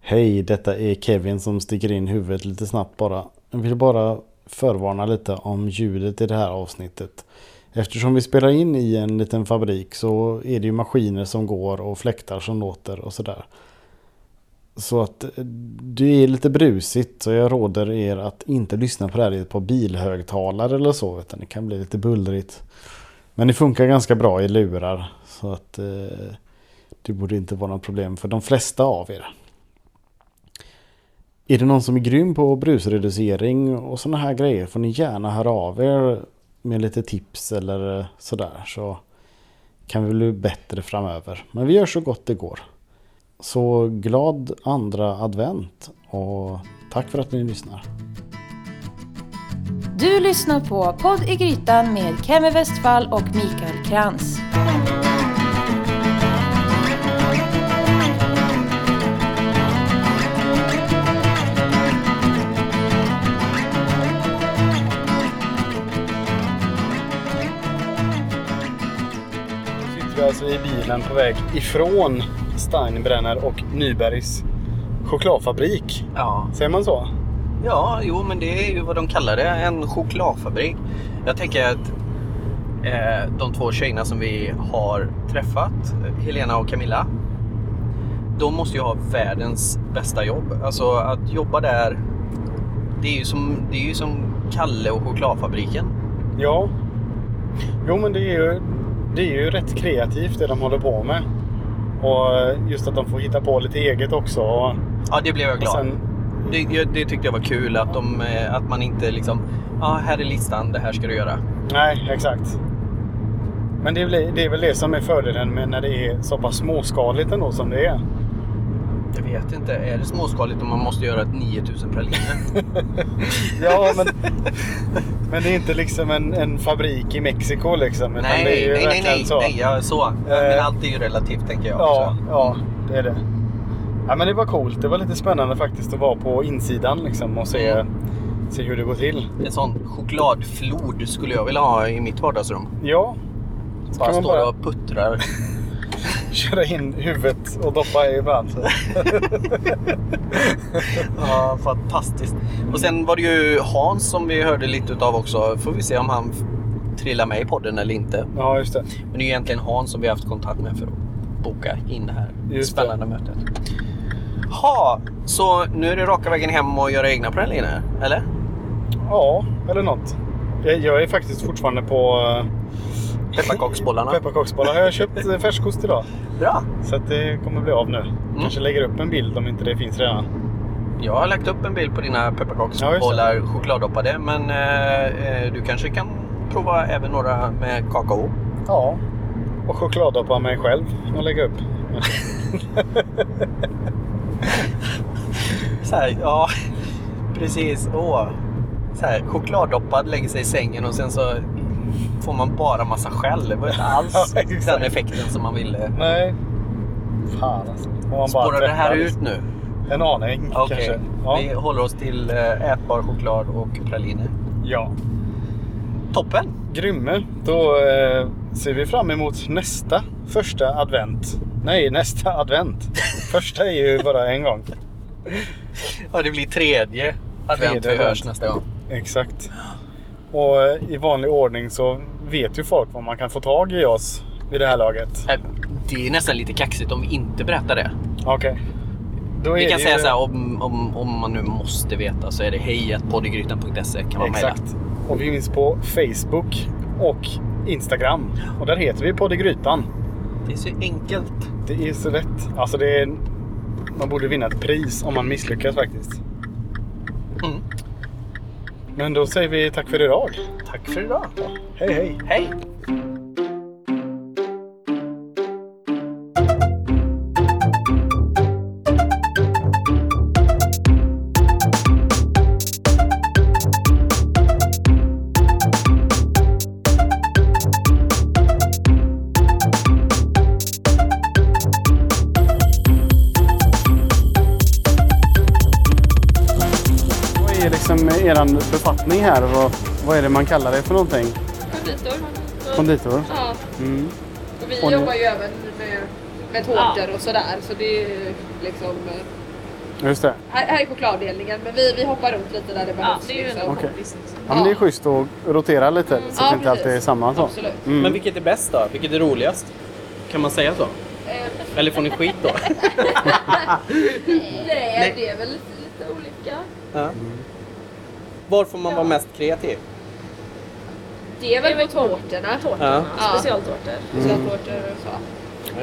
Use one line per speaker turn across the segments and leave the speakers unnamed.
Hej, detta är Kevin som sticker in huvudet lite snabbt bara. Jag vill bara förvarna lite om ljudet i det här avsnittet. Eftersom vi spelar in i en liten fabrik så är det ju maskiner som går och fläktar som låter och sådär. Så att eh, det är lite brusigt så jag råder er att inte lyssna på det här i ett par bilhögtalare eller så utan det kan bli lite bullrigt. Men det funkar ganska bra i lurar så att eh, det borde inte vara något problem för de flesta av er. Är det någon som är grym på brusreducering och sådana här grejer får ni gärna höra av er med lite tips eller eh, sådär så kan vi bli bättre framöver. Men vi gör så gott det går. Så glad andra advent och tack för att ni lyssnar.
Du lyssnar på Podd i Grytan med Kemi Westfall och Mikael Krantz.
Nu sitter vi alltså i bilen på väg ifrån Steinbrenner och Nybergs chokladfabrik.
Ja.
Säger man så?
ja, jo men det är ju vad de kallar det, en chokladfabrik. Jag tänker att eh, de två tjejerna som vi har träffat, Helena och Camilla, de måste ju ha världens bästa jobb. Alltså att jobba där, det är ju som, det är ju som Kalle och chokladfabriken.
Ja. Jo men det är ju, det är ju rätt kreativt det de håller på med. Och just att de får hitta på lite eget också. Och,
Ja, det blev jag
och
glad.
sen,
Det, jag- det tyckte jag var kul att, de, eh, att man inte liksom, ja ah, här är listan, det här ska du göra.
nej, exakt. Men det, blir, det är väl det som är fördelen med när det är så pass småskaligt ändå som det är.
Jag vet inte, är det småskaligt om man måste göra ett 9000 praliner?
Ja, men, men det är inte liksom en, en fabrik i Mexiko liksom. Utan
Nej,
det är ju
nej, nej,
verkligen
nej,
så.
nej, ja, så. Men
Eh,
allt är ju relativt tänker jag
Ja,
också.
ja, det är det. Ja, men det var coolt. Det var lite spännande faktiskt att vara på insidan liksom och se,
Mm.
se hur det går till.
En sån chokladflod skulle jag vilja ha i mitt vardagsrum.
Ja,
Som
Kan
bara
man
står
bara-
och puttrar.
köra in huvudet och doppa i branschen.
ja, fantastiskt. Och sen var det ju Hans som vi hörde lite utav också. Får vi se om han f- trillar med i podden eller inte.
Ja, just det.
Men det är ju egentligen Hans som vi har haft kontakt med för att boka in det här
Just det.
spännande mötet. Ha, så nu är det raka vägen hem och göra egna praliner, eller?
Ja, eller något. Jag, jag är faktiskt fortfarande på eh,
Pepparkaksbollarna.
pepparkaksbollar. Jag har köpt eh, färskost idag.
Bra!
Så att det kommer bli av nu.
Mm.
Kanske lägger upp en bild om inte det finns redan.
Jag har lagt upp en bild på dina
Ja,
pepparkaksbollar chokladdoppade men eh, eh, du kanske kan prova även några med kakao.
Ja. Och chokladdoppa mig själv och lägga upp.
Så här, ja, precis. Åh. Så här, chokladdoppad lägger sig i sängen och sen så får man bara massa skäll. Det var inte alls
Ja, exakt.
den effekten som man ville.
Nej. Fan alltså. Om man bara
Spårar det här
tvättar.
ut nu?
En aning
Okej,
kanske. Ja.
vi håller oss till eh, ätbar choklad och praliner.
ja.
Toppen!
Grymme. Då eh, ser vi fram emot nästa första advent. Nej, nästa advent. Första är ju bara en gång.
Ja, det blir tredje advent vi
advent.
hörs nästa gång.
Exakt. Och eh, i vanlig ordning så vet ju folk vad man kan få tag i oss vid det här laget.
Eh, Det är nästan lite kaxigt om vi inte berättar det.
Okej. Då är
Vi kan
det
säga
ju-
så här, om, om, om man nu måste veta så är det hejatpoddygrytan.se kan man mejla.
Exakt. Och vi finns på Facebook och Instagram. Och där heter vi Podd i Grytan.
Det är så enkelt.
Det är så lätt. Alltså det är... Man borde vinna ett pris om man misslyckas faktiskt.
Mm.
Men då säger vi tack för idag.
Tack för idag.
Hej hej!
Hej!
Vad är liksom er befattning här? Vad, vad är det man kallar det för någonting?
Konditor.
Konditor?
Ja.
Mm.
Och vi
Och nu-
jobbar ju även med, med tårtor och sådär. Så det är ju liksom... eh,
Just det.
Här, här är chokladdelningen men vi, vi hoppar runt lite där det
Ja,
behövs.
det är ju
liksom.
en
Okej.
kompis. liksom.
Ja, men det är schysst att rotera lite så att
Ja,
det inte alltid är
precis.
samma sak. Mm.
Absolut.
Men vilket är bäst då? Vilket är roligast? Kan man säga så?
Eh,
Eller får ni skit då?
nej, det är väl lite, lite olika.
Ja. Var får man vara mest kreativ?
Det är väl på tårtorna.
Tårtorna,
Ja.
specialtårtor.
Specialtårtor och så.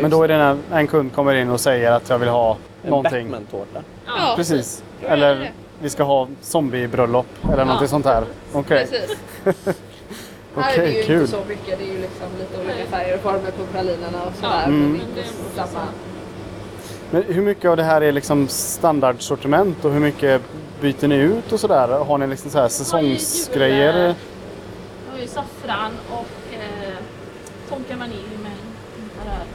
Men då är det när en kund kommer in och säger att jag vill ha
en
någonting.
Batman-tårta.
Ja,
Precis.
Ja, det är
Eller
det.
vi ska ha zombiebröllop eller någonting sånt här. Okej.
precis. här är det
Okej,
ju
kul.
inte så mycket. Det är ju liksom lite olika färger och former på pralinerna och sådär.
Ja,
Mm.
men
men
det
det
är
är
inte samma.
Men hur mycket av det här är liksom standardsortiment och hur mycket byter ni ut och sådär? Har ni liksom så här säsongsgrejer?
Det var ju saffran och eh, tonka vanilj med inte rör.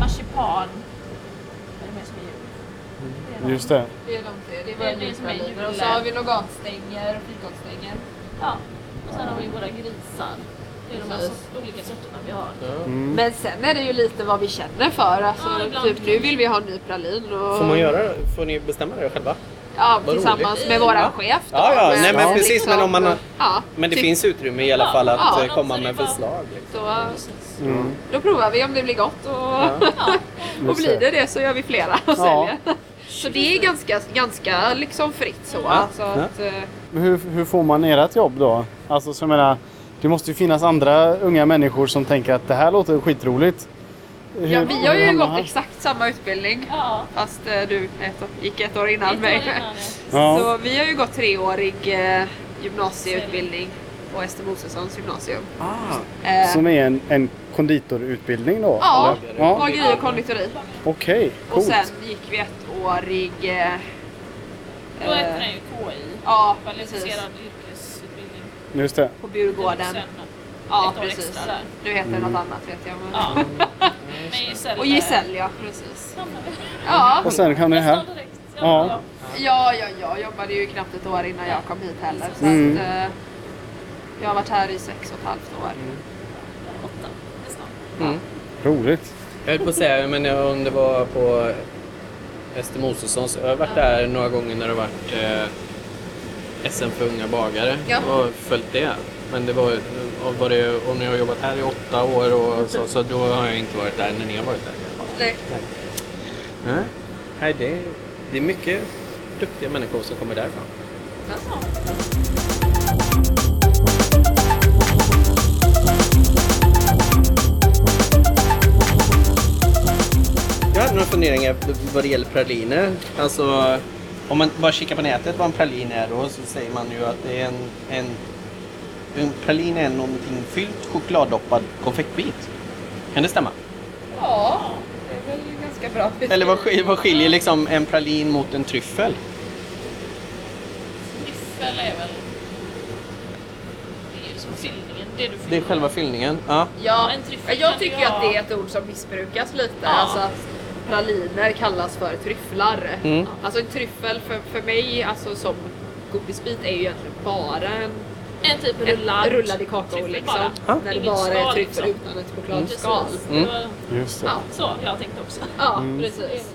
Marsipan. Vad är det mer som är jul? Det är de.
Just det.
Det är de tre. Det är
Det är det som är
vaniljepraliner. Och så
julen.
har vi nougatstänger och fikonstänger.
Ja. Och sen har vi våra grisar. Det är de här
Precis.
sort- olika sorterna vi har.
Mm.
Men sen är det ju lite vad vi känner för. Alltså,
Ja, ibland.
typ nu vill vi ha en ny pralin. Och...
Får, man göra, får ni bestämma det själva?
Ja,
Vad
tillsammans
roligt.
med våran
Ja.
chef. då.
Ja, ja,
Men
nej, men
liksom,
precis, men om man har-
Ja,
Men det
typ
finns utrymme i alla fall att
Ja,
eh, komma
så det är
med
bara-
förslag. liksom.
Så,
Precis.
Mm.
då provar vi om det blir gott och, och
Just
blir
det.
det det så gör vi flera och
Ja.
säljer. Så det är ganska, ganska liksom fritt så. Så att, eh,
Men hur, hur får man ert jobb då? Alltså så jag menar, det måste ju finnas andra unga människor som tänker att det här låter skitroligt. Hur-
ja, vi har
hur
ju
hamnar
gått
här?
exakt samma utbildning
Ja.
fast eh, du ett, år- gick ett år innan
Ett
mig.
år innan,
Ja.
Så vi har ju gått treårig eh, gymnasieutbildning på Ester Mosessons gymnasium.
Ah.
Eh,
Som är en, en konditorutbildning då?
Ja,
eller? ja.
bageri och konditori.
Okej,
Och
coolt.
sen gick vi ettårig... Eh,
ja. Då heter den ju KI.
ja, Eh. precis.
Kvalificerad yrkesutbildning.
Just det.
På Djurgården.
Sen,
Ja,
ett år
precis.
extra där.
Nu heter
Mm.
det något annat vet jag. Men...
Ja. Med Giselle.
Och Giselle ja, precis.
Ja, men-
Ja,
Och sen kan ni här.
Nästan direkt.
Ja.
ja.
ja, ja, jag jobbade ju knappt ett år innan jag kom hit heller. Så
Mm.
att, eh, jag har varit här i sex och ett halvt år.
Mm.
Åtta. Nästan.
Roligt.
Jag höll på att säga, men jag- om det var på Ester Mosessons. Jag har varit där några gånger när det har varit eh, SM för unga bagare
Ja.
och följt det. Men det var, och var det, och ni har jobbat här i åtta år och så, så då har jag inte varit där när ni har varit där.
Nej.
Nej, det, är, det är mycket duktiga människor som kommer därifrån. Jag hade några funderingar vad det gäller praliner. Alltså, om man bara kikar på nätet vad en pralin är då så säger man ju att det är en, en, en pralin är någonting fyllt chokladdoppad konfektbit. Kan det stämma?
Ja, det är väl ganska bra.
Eller vad, skil- vad skiljer liksom en pralin mot en tryffel?
Tryffel är väl... Det är ju som fyllningen. Det du fyller.
Det är själva fyllningen. Ja.
Ja,
En tryffel
jag
kan
tycker
ju
att det
ha-
är ett ord som missbrukas lite.
Ja.
Alltså att praliner kallas för tryfflar.
Mm.
Alltså en tryffel för, för mig alltså som godisbit är ju egentligen bara en
En typ
en
rullad.
rullad i kakao
tryffel
liksom.
bara.
När det
Inget
bara är
skal,
tryffel
liksom.
utan Mm. ett
Precis.
chokladskal.
Det var
Just det.
Ja,
så jag tänkte också.
ja precis.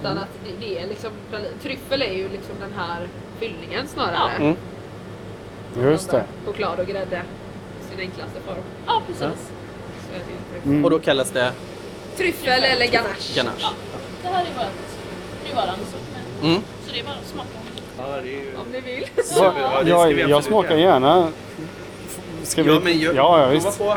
Utan att det, det är liksom, pralin- tryffel är ju liksom den här fyllningen snarare.
Ja.
Mm.
Just det.
Choklad och grädde i sin enklaste form.
Ja, precis.
Så jag tycker-
Mm.
Och då kallas det
Tryffel eller ganache.
ganache.
Det här är vårt nuvarande sortiment.
Mm.
Så det är bara att smaka.
Ja, det är ju...
Om ni vill.
Va-
Ja, det ska
jag,
vi
jag
absolut
smakar
göra.
gärna. Ska vi... ja, ja visst.
På.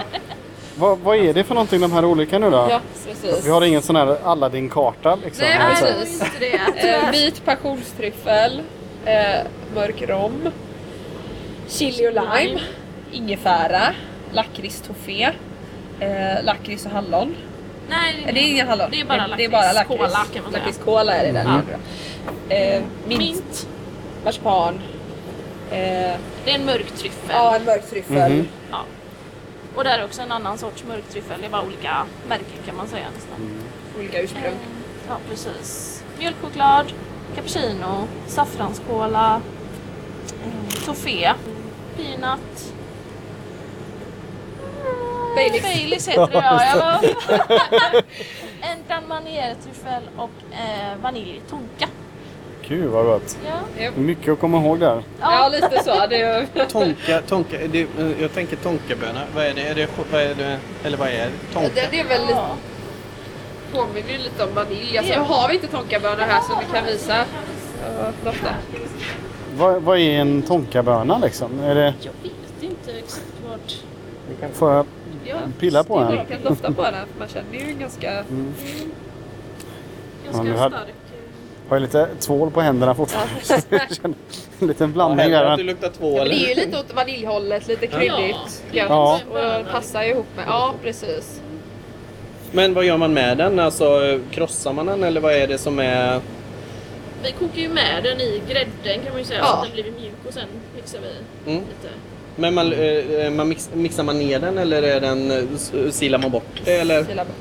Vad, vad är det för någonting de här olika nu då?
Ja, precis.
Vi har ingen sån här Aladdin-karta liksom.
Nej
eller så.
precis. Eh, vit passionstryffel, eh, mörk rom, chili och lime, ingefära, lakritstoffé, eh, lakrits och hallon.
Nej,
Eh, Det är inga hallon.
Det är bara
Det är bara
lakrits.
lakrits.
Cola kan man säga.
Lakritskola är det där.
Ja.
Eh, Mm. mint,
Mint.
marsipan, eh,
Det är en mörk tryffel.
ja en mörk tryffel.
Mhm.
Ja. Och där är också en annan sorts mörk tryffel. Det är bara olika märken kan man säga nästan. Eh,
Olika ursprung.
Ja, precis. Mjölkchoklad, cappuccino, saffranskola, eh, toffé, peanut. Mm,
Baileys.
Baileys heter det ja. Jag var... en Grand Manier-tryffel och eh, vaniljtonka.
Gud vad gott.
Ja,
Mm.
Mycket att komma ihåg där.
Ja, lite så. Det,
Tonka, tonka, är det, eh, jag tänker tonkabönor. Vad är det? Är det, vad är det eller vad är det? Tonka?
det, det är väl lite,
ja.
påminner ju lite om vanilj. Alltså, nu har vi inte tonkabönor här som vi kan visa. Ja, Lotta.
Vad, vad är en tonkaböna liksom? Är det,
Jag vet inte exakt vart.
får jag
Ja,
pilla på
det är bra.
en?
Man kan dofta på den. för Man känner ju ganska...
Ganska
du hade-
stark.
Har jag lite tvål på händerna fortfarande? Så jag känner en liten
Ja,
blandning
hellre att
här.
du luktar två
Ja, men det är
eller?
ju lite åt vaniljhållet, lite kryddigt.
Ja.
Ja. Och det passar ju ihop med... Ja, precis.
Men vad gör man med den? Alltså eh, krossar man den eller vad är det som är?
Vi kokar ju med den i grädden kan man ju säga
Ja.
så att den blir mjuk och sen mixar vi
Mm.
lite.
Men man, eh, man mix, mixar man ner den eller är den, eh, s- silar man bort? Eller?
Kyla bort,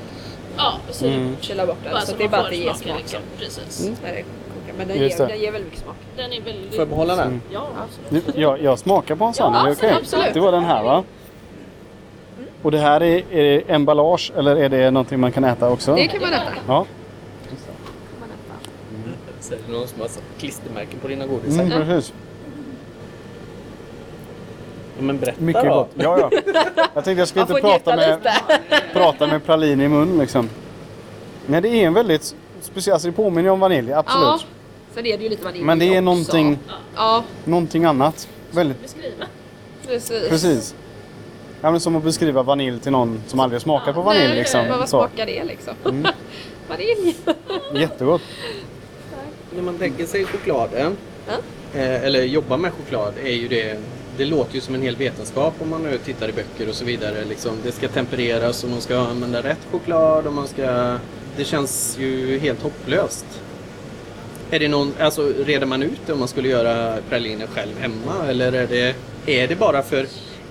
Ja, och så är det
Mm.
kyla bort den.
bara
så
så
det är
man
bara
får
att det ger
smaken
smak. Mm.
liksom. Precis.
När det kokar. Men den
Just
ger,
det.
den ger väldigt mycket smak.
Den är väldigt...
Får jag behålla
Mm.
den?
Ja, absolut.
Nu, jag, jag smakar på en sån, är det okej?
absolut. Mm.
Det var den här va? Och det här är, är det emballage eller är det någonting man kan äta också?
Det kan man äta.
Ja.
Så är det någon som har satt klistermärken på dina godisar.
Mm, precis.
Ja, Men berätta
Mycket
då.
gott. Ja, ja. Jag tänkte jag skulle
Man
inte
får
prata
njuta
med,
lite.
prata med pralin i mun liksom. Nej, det är en väldigt speciell, alltså det påminner ju om vanilj,
Ja.
absolut.
Sen är det ju lite vanilj
Men det är
också.
någonting,
Ja,
någonting annat. Väldigt,
Beskriva.
precis.
precis. Ja, men som att beskriva vanilj till någon som aldrig har smakat på vanilj
Nej, Men
liksom.
vad
Så, Mm.
smakar det liksom? vanilj.
jättegott.
När man tänker sig chokladen, eh, eller jobbar med choklad, är ju det, det låter ju som en hel vetenskap om man nu tittar i böcker och så vidare. Liksom, det ska tempereras och man ska använda rätt choklad och man ska... Det känns ju helt hopplöst. Är det någon, alltså reder man ut det om man skulle göra praliner själv hemma eller är det, är det bara för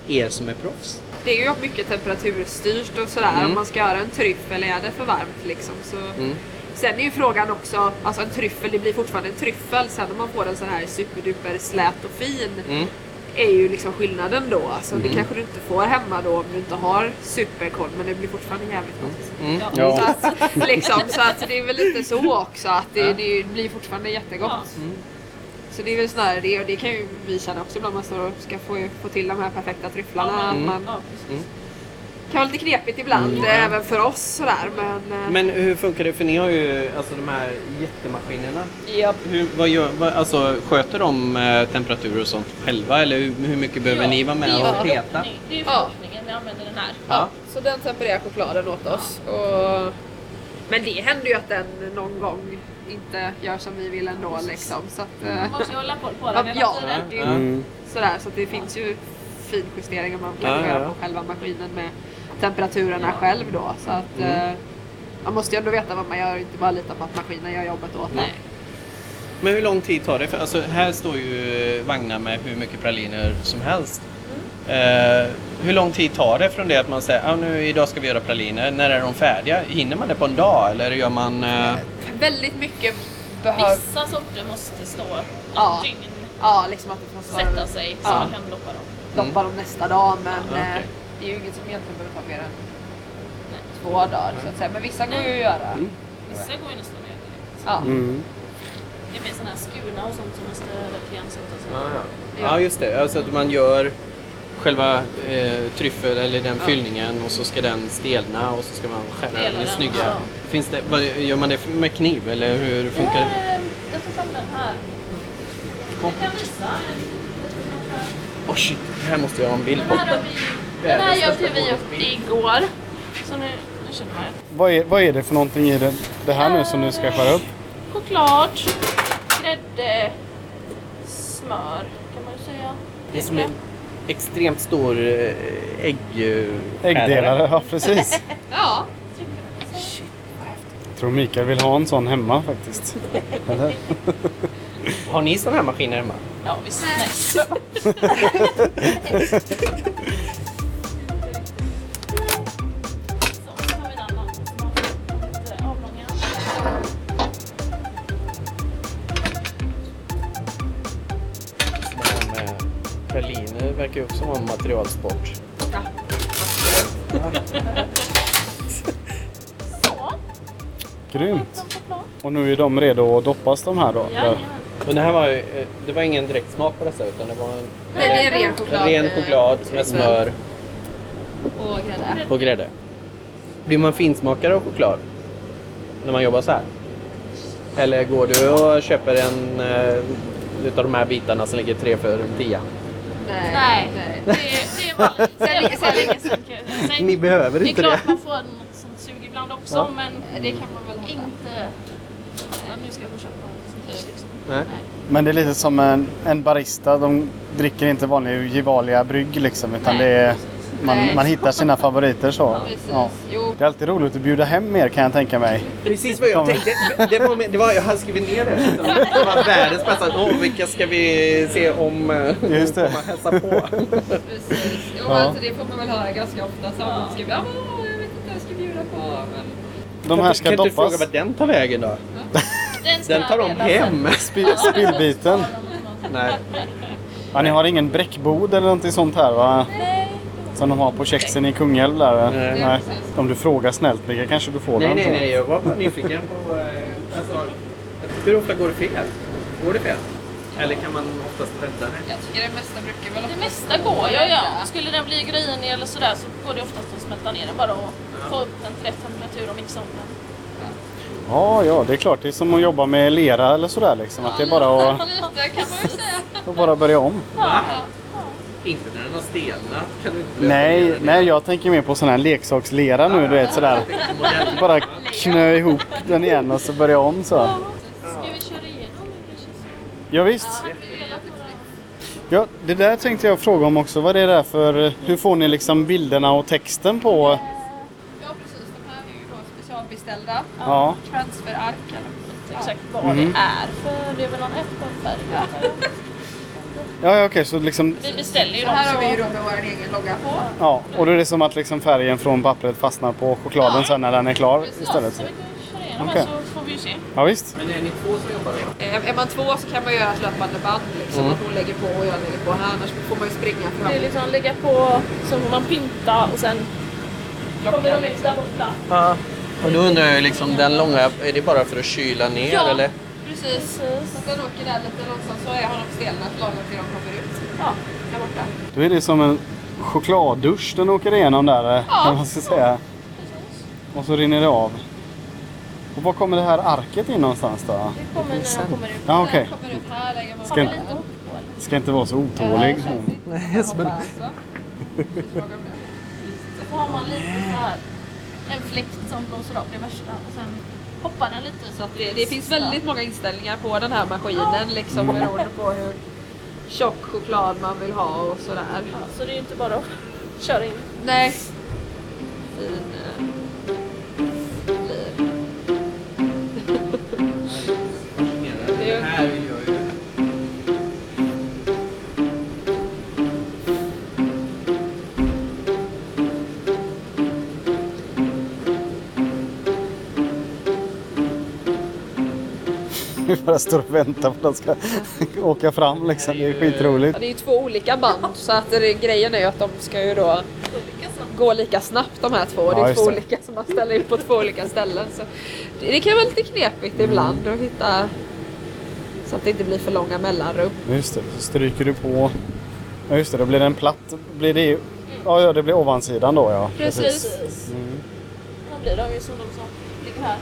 er som är proffs?
Det är ju mycket temperaturstyrt och sådär.
Mm.
Om man ska göra en tryffel är det för varmt liksom. Så.
Mm.
Sen är ju frågan också, alltså en tryffel, det blir fortfarande en tryffel. Sen om man får en sån här superduper slät och fin
Mm.
är ju liksom skillnaden då. Alltså det kanske du inte får hemma då om du inte har superkoll men det blir fortfarande jävligt gott.
Mm.
Så,
Ja,
att, liksom, så att det är väl lite så också att det, det blir fortfarande jättegott.
Ja.
Så det är väl snarare det och det kan ju vi känna också ibland man står och ska få, få till de här perfekta tryfflarna.
Mm.
Att man
Ja, precis.
kan vara lite knepigt ibland eh, även för oss sådär men, eh,
Mm. Men hur funkar det? För ni har ju alltså de här jättemaskinerna.
ja,
Hur, vad gör, vad, alltså, sköter de eh, temperaturer och sånt själva eller hur, hur mycket behöver
Ja,
ni vara med
det är
och
förhoppning.
peta?
Det är
Ja.
förhoppningen, vi använder den här.
Ja.
Så den tempererar chokladen åt oss. Och... Men det händer ju att den någon gång inte gör som vi vill ändå liksom. Så att, eh,
Mm.
Man måste ju hålla koll på
Ja,
den hela
ja.
tiden.
det är ju sådär, så att det finns ju finjusteringar man kan
Ja, ja,
göra
ja.
på själva maskinen med temperaturerna själv då. Så att,
Mm.
eh, man måste ju ändå veta vad man gör och inte bara lita på att maskinen gör jobbet åt en.
Nej. Men hur lång tid tar det? För, alltså, här står ju vagnar med hur mycket praliner som helst.
Mm.
Eh, hur lång tid tar det från det att man säger ah, nu idag ska vi göra praliner, när är de färdiga? Hinner man det på en dag eller gör man... eh,
Väldigt mycket behövs.
Vissa sorter måste stå ett
Ja.
dygn,
Ja, liksom att det måste vara-
sätta sig så
Ja.
man kan doppa dem.
doppa dem nästa dag men
Ja, okej.
eh, det är ju inget som egentligen behöver ta mer än två dagar så att säga. Men vissa går ju att göra.
Vissa går ju nästan ner direkt.
Ja.
Mm.
Det finns sådana här skurna och sånt som måste verkligen sätta sig.
Ja, just det. Alltså att man gör själva eh, tryffel eller den fyllningen och så ska den stelna och så ska man skära
Dela
den i
den,
snygga.
ja.
Finns det, vad- gör man det med kniv eller hur
Jag
funkar
har,
det?
eh, jag tar fram den här.
Kom.
Jag kan visa.
Åh shit, det här måste jag ha en bild på.
Den här, har vi, den här hjälpte vi upp igår. Så nu, nu känner man det.
Vad är, vad är det för någonting i det, det här nu som du ska skära upp?
Choklad, grädde, smör kan man ju säga.
Det är som en extremt stor eh, ägg... eh,
Äggdelare, ja precis.
Ja.
Jag tror Mikael vill ha en sån hemma faktiskt. Eller?
Har ni sådana här maskiner hemma?
Ja visst, nice. Så, så har vi en annan som har lite avlånga.
Det här med eh, praliner verkar ju också vara en materialsport.
Så,
Grymt.
de får plats.
Och nu är de redo att doppas de här då?
Jajamän.
eller?
Men det här var ju, eh, det var ingen direkt smak på dessa utan det var en
Nej, det är ren choklad.
ren
eh,
choklad med smör
Och grädde.
och grädde. Blir man finsmakare av choklad när man jobbar så här? Eller går du och köper en eh, utav de här bitarna som ligger tre för tia?
Nej, det, det är vanligt. Det är
Sen-
länge sedan kanske. Sen-
Ni behöver
Det är
inte det.
klart man får något sånt sug ibland också
Ja.
men
Det kan man väl ha.
inte... Ja, nu ska jag gå och köpa något sånt här liksom.
Nej.
Men det är lite som en, en barista. De dricker inte vanlig Gevalia brygg liksom. Utan
Nej.
det är, man,
Nej.
man hittar sina favoriter så.
Precis.
Ja.
Jo.
Det är alltid roligt att bjuda hem mer kan jag tänka mig.
Precis vad jag tänkte. Det var, med- det var, jag hade skrivit ner det. Det var världens bästa. Åh, vilka ska vi se om eh,
Just det.
komma och hälsa på?
Precis. Jo,
Ja.
alltså, det får man väl höra ganska ofta. Så man ska, ja, men, jag vet inte vad jag ska bjuda på. Men...
De här ska
kan du fråga
doppas.
vart den tar vägen då?
Den, ska
Den tar de
redan sen.
hem.
Spi- Spillbiten.
Nej.
Ja, ni har ingen bräckbod eller någonting sånt här va? Som de har på kexen i Kungälv där?
Nej.
Om du frågar snällt Mikael kanske du får
nej,
den.
nej,
så.
nej. Jag var bara nyfiken på... eh, Alltså, hur ofta går det fel? Går det fel? Eller kan man oftast rädda det?
Jag tycker det mesta brukar väl
Det mesta går jag ja. Skulle den bli grinig eller sådär så går det oftast att smälta ner den bara och få upp den till rätt temperatur om inte sånt.
Ja, ja, det är klart. Det är som att jobba med lera eller sådär liksom. Att det är bara att,
lite kan man ju säga.
att bara börja om.
Va? Inte när den har stelnat. Kan du inte
Nej, nej, jag tänker mer på sån här leksakslera nu, du vet sådär. Bara knö ihop den igen och så börja om så.
Ska vi köra igenom? det kanske?
Ja, visst. Ja, det där tänkte jag fråga om också. Vad är det där för... Hur får ni liksom bilderna och texten på...
Ja, precis. De här är ju då specialbeställda.
Ja.
Transferark eller
Exakt vad
Mhm.
det är för det är väl någon FN-färg?
Ja, ja, okej, så liksom...
Vi beställer ju
Det här
dem
har vi ju
så.
då med vår egen logga på.
Ja, och då är det som att liksom färgen från pappret fastnar på chokladen sen när den är klar
Ja,
istället.
så vi kan köra igenom
Okej.
här så får vi ju se.
Ja, visst.
Men är ni två som jobbar då?
Eh, Är man två så kan man göra ett löpande band. Liksom, att hon lägger på och jag lägger på här. Annars får man ju springa fram.
Det är liksom lägga på, så får man pynta och sen kommer de ut där borta.
Ja. Och då undrar jag liksom, den långa, är det bara för att kyla ner
Ja.
eller?
Precis. Så att den åker där lite långsamt så har de stelnat lagom till de kommer ut.
Ja.
Där borta.
Då är det som en chokladdusch den åker igenom där, ja. man ska säga. Och så rinner det av. Och var kommer det här arket in någonstans då?
Det kommer när de kommer ut.
Ja, okej.
Kommer ut här lägger man
Ska, ska inte vara så otålig. hon.
Nej, men...
Så har man lite så här en fläkt som blåser av det värsta och sen hoppar den lite så att
Det, det finns väldigt många inställningar på den här maskinen liksom beroende på hur tjock choklad man vill ha och sådär.
Ja, så det är ju inte bara att köra in.
Nej. Fin. eh, blir. Det är ju-
Vi bara står och väntar på att de ska åka fram liksom. Det är skitroligt.
Ja, det är ju två olika band så att det, grejen är ju att de ska ju då gå lika snabbt de här två. det
Ja,
är
just
två
det.
olika som man ställer in på två olika ställen. Så det, det kan vara lite knepigt ibland att hitta så att det inte blir för långa mellanrum.
Just det, så stryker du på. Ja just det, då blir den platt. Blir det... Ja, ja, det blir ovansidan då ja.
Precis.
Mm.
Då blir de ju som de som ligger här.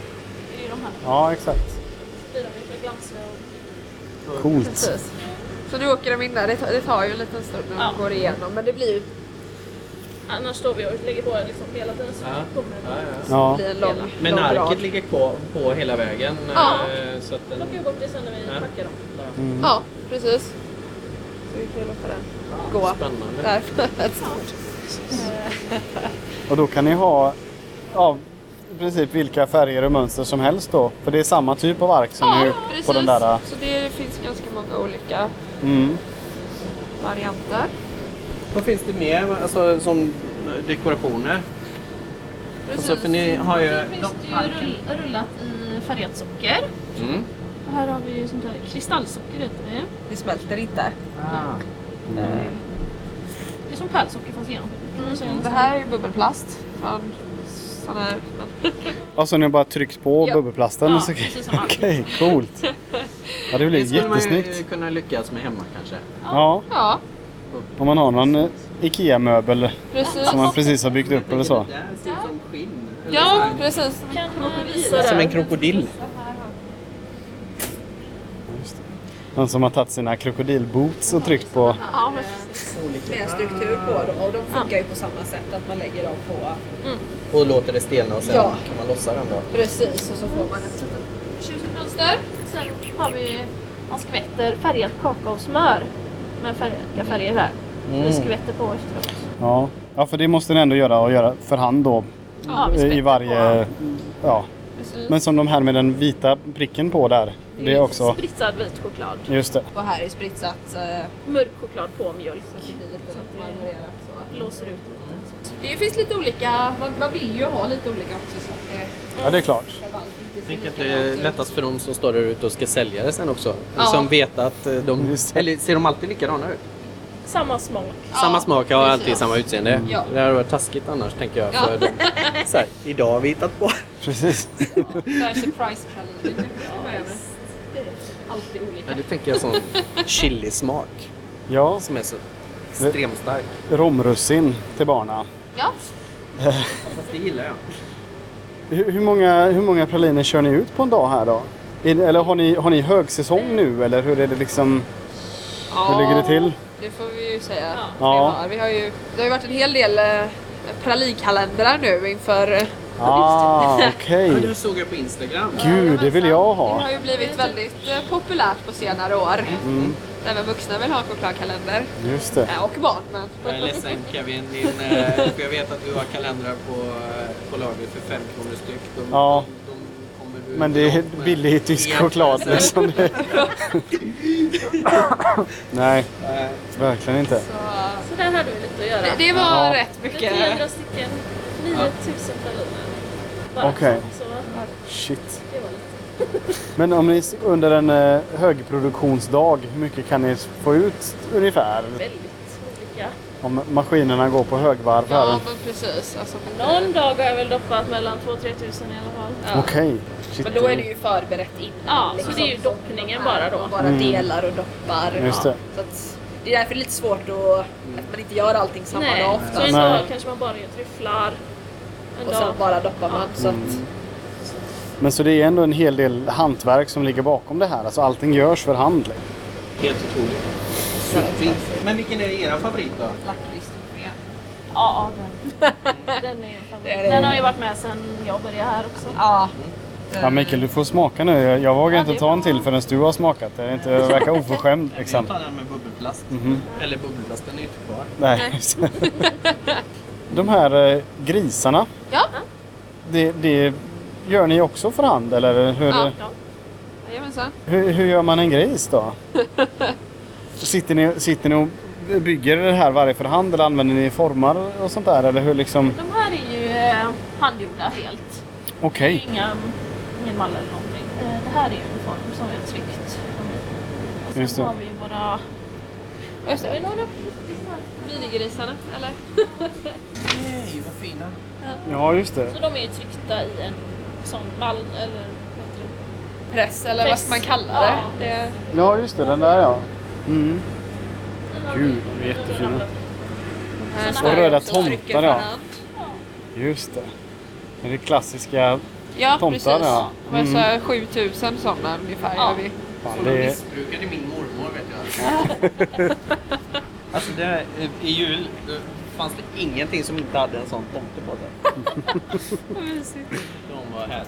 Det är ju de här.
Ja, exakt.
Då blir de ju för glansiga och...
Coolt.
Precis. Så nu åker de in där. Det tar, det tar ju en liten stund när de
Ja.
går igenom. Men det blir ju
Annars står vi och lägger på liksom hela tiden så
Ja.
kommer den.
Ja.
blir en lång,
Men
lång
arket
rad.
ligger på, på hela vägen.
Ja.
eh, Så att den...
Plockar ju bort det sen när vi
Ja.
packar dem.
Ja, precis. Så vi kan ju låta den gå.
Spännande.
Där.
Och då kan ni ha ja, i princip vilka färger och mönster som helst då. För det är samma typ av ark som nu på den där. äh,
Så det finns ganska många olika
Mm.
varianter.
Vad finns det mer alltså, som dekorationer? Alltså, för ni har ju...
Sen finns det ju rull, rullat i färgat socker.
Mm.
Och Här har vi ju sånt där kristallsocker heter det.
Det smälter inte.
Det är som pärlsocker fast genomskinligt.
Mm. Det här är ju bubbelplast. Från sån här.
Och så har Alltså, ni bara tryckt på
Ja.
bubbelplasten.
Ja,
och så-
precis som
Okej, coolt. Ja, det blir
skulle man ju
jättesnyggt.
kunna lyckas med hemma kanske.
Ja,
Ja,
om man har någon eh, IKEA-möbel
precis.
som man precis har byggt upp eller så.
Det där ser ut som skinn. Eller så
Ja,
här.
precis.
Kan eh, visa
Som en
det?
krokodill.
Någon som har tagit sina krokodilboots och tryckt på.
Ja, men precis.
Det är en struktur på dem och de funkar ju på samma sätt att man lägger dem på
Och låter det stelna och sen
Ja.
kan man lossa den då.
precis och så får man ett
Tjusigt mönster. Sen har vi, man skvätter färgat kakaosmör med färgade färger här.
Mm.
Vi skvätter på efteråt.
Ja. ja, för det måste ni ändå göra och göra för hand då.
Ja, vi
eh, I
skvätter
varje... Ja.
Precis.
Men som de här med den vita pricken på där. Det är också...
Spritsad vit choklad.
Just det.
och här är spritsat eh,
Mörk choklad på mjölk.
det blir lite marmorerat så.
Blåser ut lite.
Det finns lite olika, man, man vill ju ha lite olika också. Så att det,
Ja, det är klart.
Tänk att det är lättast för dem som står där ute och ska sälja det sen också.
Ja.
Som vet att eh, de...
Just det.
Eller ser de alltid likadana ut?
Samma smak.
Samma smak har
precis.
alltid samma utseende.
Ja.
Det hade varit taskigt annars tänker jag. För dem. så här, idag har vi hittat på.
Precis.
där surprise-kalendern Alltid olika.
Ja, det tänker jag sån chilismak
Ja,
som är så extremt stark.
romrussin till barna.
Ja,
Fast det gillar jag.
Hur, hur, många, hur många praliner kör ni ut på en dag här då? Är- Eller har ni, har ni högsäsong nu eller hur är det liksom? Hur ligger det till?
Det får vi ju säga. att vi
Ja.
har. Vi har ju, det har ju varit en hel del eh, pralinkalendrar nu inför... eh,
Ah, okej.
Men det såg jag på Instagram.
Gud, det vill jag
Det
ha.
har ju blivit väldigt eh, populärt på senare år. Även vuxna vill ha en chokladkalender.
Mm, Just det.
Eh, Och barn men.
Jag är ledsen Kevin, din, eh, för jag vet att du har kalendrar på, eh, på lager för 5 kronor styck. De,
Ja.
de, de kommer du
Men det är
långt med.
billig tysk choklad liksom. Det. Nej,
Eh,
verkligen inte.
så där hade vi lite att göra.
Det, det var
Ja.
rätt mycket.
300 stycken, 9000 praliner. Bara
Okej.
så- så
Shit.
det var lite.
Men om ni s- under en eh, högproduktionsdag, hur mycket kan ni s- få ut ungefär?
Väldigt olika.
Om maskinerna går på högvarv här.
Ja men precis. Alltså,
Någon dag har jag väl doppat mellan 2-3 tusen i alla fall.
ja.
Okej. Shit.
Men då är det ju förberett innan.
Ja, så
liksom.
det är ju doppningen bara då.
Man bara delar och doppar.
Mm. Just det. Mm.
Så att, det är därför det är lite svårt att, att man inte gör allting samma dag
Nej, så
ofta.
en
Nej.
dag kanske man bara gör tryfflar. En
Och
dag.
sen bara doppar man. Så att,
Mm. Men så det är ändå en hel del hantverk som ligger bakom det här. Alltså allting görs för hand. liksom.
Helt otroligt. Superfint. Men vilken är era favorit då?
Ja, den. Den, är favorit. den har ju varit med sedan jag började här också.
ja,
Ja, Mikael, du får smaka nu. Jag, jag vågar
Ja,
inte
det
ta
var-
en till förrän du har smakat. Det är inte det verkar oförskämd. Liksom.
den med bubbelplast.
Mhm.
Eller bubbelplasten är ju inte kvar.
Nej. just det. De här eh, grisarna,
Ja.
det, det gör ni också för hand? Eller hur,
Ja.
Ja.
Jajamensan.
hur, hur gör man en gris då? Sitter ni, sitter ni och bygger det här varje för hand eller använder ni formar och sånt där? Eller hur liksom?
De här är ju eh, handgjorda helt. Det
Okej.
är Inga, ingen mall eller någonting. Eh, det här är ju en form som är tryckt. Och sen
Just det.
har vi våra...
Just det, är det några minigrisarna eller?
Nej, vad fina.
Ja, just det.
Så de är ju tryckta i en sån mall eller vad heter det?
Press eller vad
Press.
ska man kalla det?
Ja.
det
Ja, just det. Den där ja. Mm.
Sen har
Gud,
vi-
de är jättefina.
Sen
här
har
Och
vi-
är
röda
också trycker
tomtar, ja.
för hand.
Just det. Det är det klassiska.
Ja
Tomtar,
precis.
ja. Mm.
Men så här 7000 sådana ungefär
Ja.
gör vi.
Fan,
Hon
det är,
missbrukade min mormor vet jag. alltså det här, eh, i jul då fanns det ingenting som inte hade en sån tomte på sig. De var här.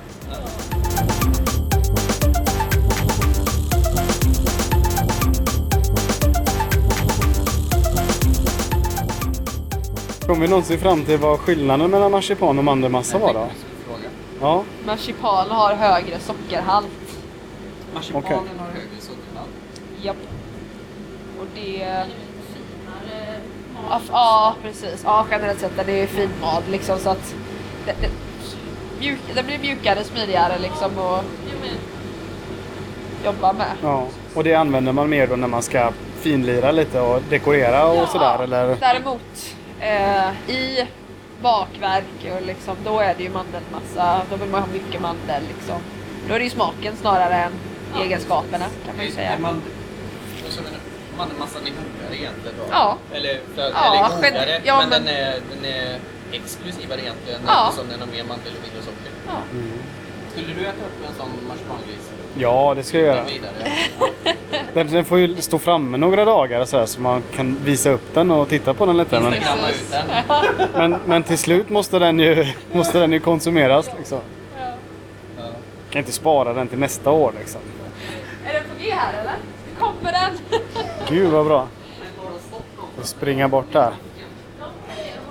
Kommer vi någonsin fram till vad skillnaden mellan marsipan och mandelmassa var då? Ja,
Marsipan har högre sockerhalt.
Marsipanen
Okej.
har högre sockerhalt.
Japp. Och det...
Finare mat.
Ja, f- ja precis. Ja, generellt sett den är ju finmad liksom så att... Den, den, mjuk, den blir mjukare, smidigare liksom att
Jo, men
jobba med.
ja. Och det använder man mer då när man ska finlira lite och dekorera och sådär eller?
Däremot eh, i bakverk och liksom, då är det ju mandelmassa. Då vill man ha mycket mandel liksom. Då är det ju smaken snarare än egenskaperna kan man ju säga.
Man, alltså, men mandelmassan är godare egentligen då?
Ja.
Eller, för,
Ja,
eller godare,
gen- ja,
men,
men-
Den, är, den är exklusivare egentligen
Ja.
eftersom den har mer mandel och vill och socker. Mm.
Ja.
Skulle du äta upp en sån marsipangris?
Ja, det ska jag göra.
Utan vidare?
Den, den får ju stå framme några dagar så, här, så man kan visa upp den och titta på den lite. Men,
Instagramma ut den?
men, men till slut måste den ju, måste den ju konsumeras. Liksom.
Ja.
Kan inte spara den till nästa år liksom.
Är den på G här eller? Kommer den?
Gud vad bra. Och springa bort där.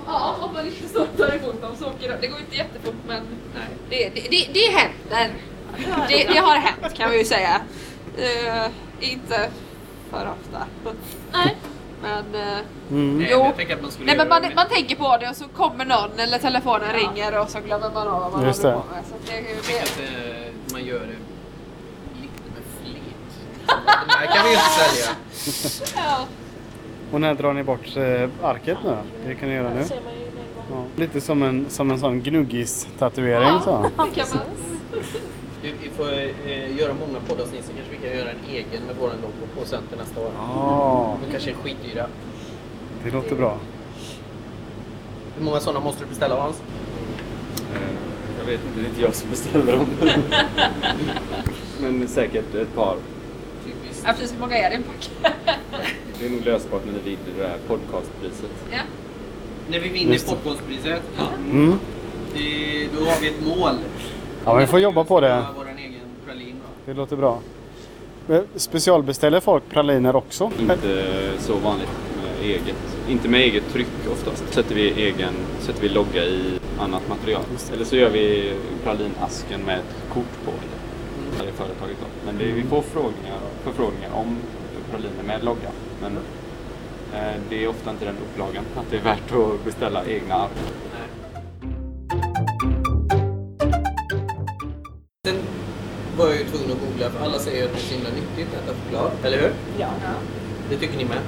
Ja, om man inte stöttar emot dem så åker de. Det går inte jättefort men det, det, det, det händer. Det, det har hänt kan vi ju säga. Eh, inte för ofta.
Nej.
Men eh,
Mm.
Nej,
Jo.
Jag tänker att man skulle
Nej men
göra
man,
det.
man tänker på det och så kommer någon eller telefonen ringer och så glömmer man av vad man
Just
håller
det.
på med. Så att det,
Jag
det,
tycker att eh, man gör det lite med flit. Den här kan vi ju inte sälja.
ja.
Och när drar ni bort eh, arket nu då? Det kan ni göra nu.
Det ser man ju med en gång.
Ja. Lite som en, som en sån gnuggis-tatuering. Så.
det kan man.
Vi, vi får eh, göra många poddavsnitt så kanske vi kan göra en egen med våran logo på sen till nästa år.
Ja,
De kanske är skitdyra.
det låter bra.
Hur många sådana måste du beställa Hans?
Eh, Jag vet inte, det är inte jag som beställer dem. Men säkert ett par.
Ja, precis, hur många är det i en pack?
Det är nog lösbart när vi vinner det här podcastpriset.
Ja.
När vi vinner Popcornspriset,
Mm.
det- då har vi ett mål.
Ja, men vi får jobba på det.
Våran egen pralin då.
Det låter bra. Eh, Specialbeställer folk praliner också?
Inte så vanligt med eget. Inte med eget tryck oftast. Sätter vi, egen, sätter vi logga i annat material. Eller så gör vi pralinasken med ett kort på. Det är företaget då. Men det, vi får frågningar, förfrågningar om praliner med logga. Men eh, det är ofta inte den upplagan. Att det är värt att beställa egna ark.
Sen var jag ju tvungen att googla för alla säger att det är så himla nyttigt att äta choklad, eller hur?
Ja.
Det tycker ni med?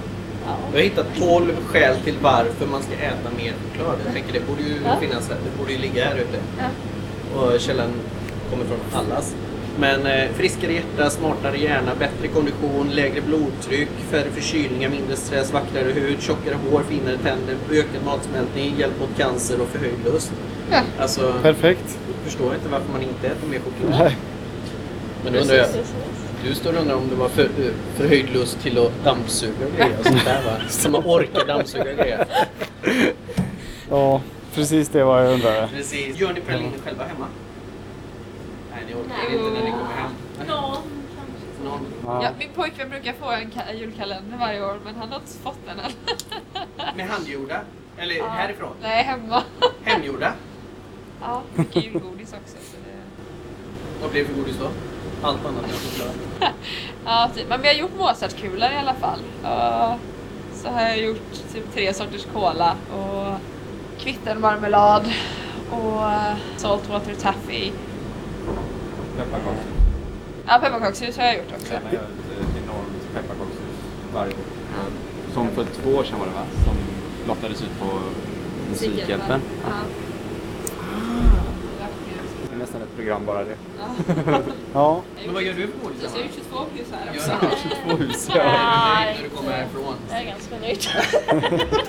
Jag har hittat 12 skäl till varför man ska äta mer choklad. Jag tänker det borde ju finnas här, det borde ju ligga här ute. Och källan kommer från allas. Men eh, friskare hjärta, smartare hjärna, bättre kondition, lägre blodtryck, färre förkylningar, mindre stress, vackrare hud, tjockare hår, finare tänder, ökad matsmältning, hjälp mot cancer och förhöjd lust.
Ja.
Alltså,
Perfekt.
jag förstår inte varför man inte äter mer choklad.
Nej.
Men då undrar jag,
Precis.
du står och undrar om det var för, eh, förhöjd lust till att dammsuga och grejer och sånt där va? Så man orkar dammsuga och grejer.
Ja, precis det var jag undrade.
Precis. Gör ni praliner själva hemma? Nej, ni orkar inte när ni kommer hem.
Ja.
Någon.
Ja,
Ja.
min pojkvän brukar få en ka- julkalender varje år men han har inte fått den än.
Med handgjorda? Eller härifrån?
Nej, hemma.
Hemgjorda?
Ja, mycket julgodis också. Så det...
Vad blev det för godis då? Allt annat än choklad.
ja, typ. Men vi har gjort Mozartkulor i alla fall. Och så har jag gjort typ tre sorters cola och kvittenmarmelad och saltwater taffy.
Pepparkakshus.
Ja, pepparkakshus har jag gjort också.
Jag gör ett enormt pepparkakshus varje år. Som för två år sedan var det va? Som lottades ut på Musikhjälpen.
Ja.
Det är nästan ett program bara det.
Ja,
Men vad gör du för godis
Jag har
hemma?
gjort 22 hus här
Gör
också.
du något?
Två hus.
Är du nöjd när du kommer härifrån?
Jag är ganska nöjd.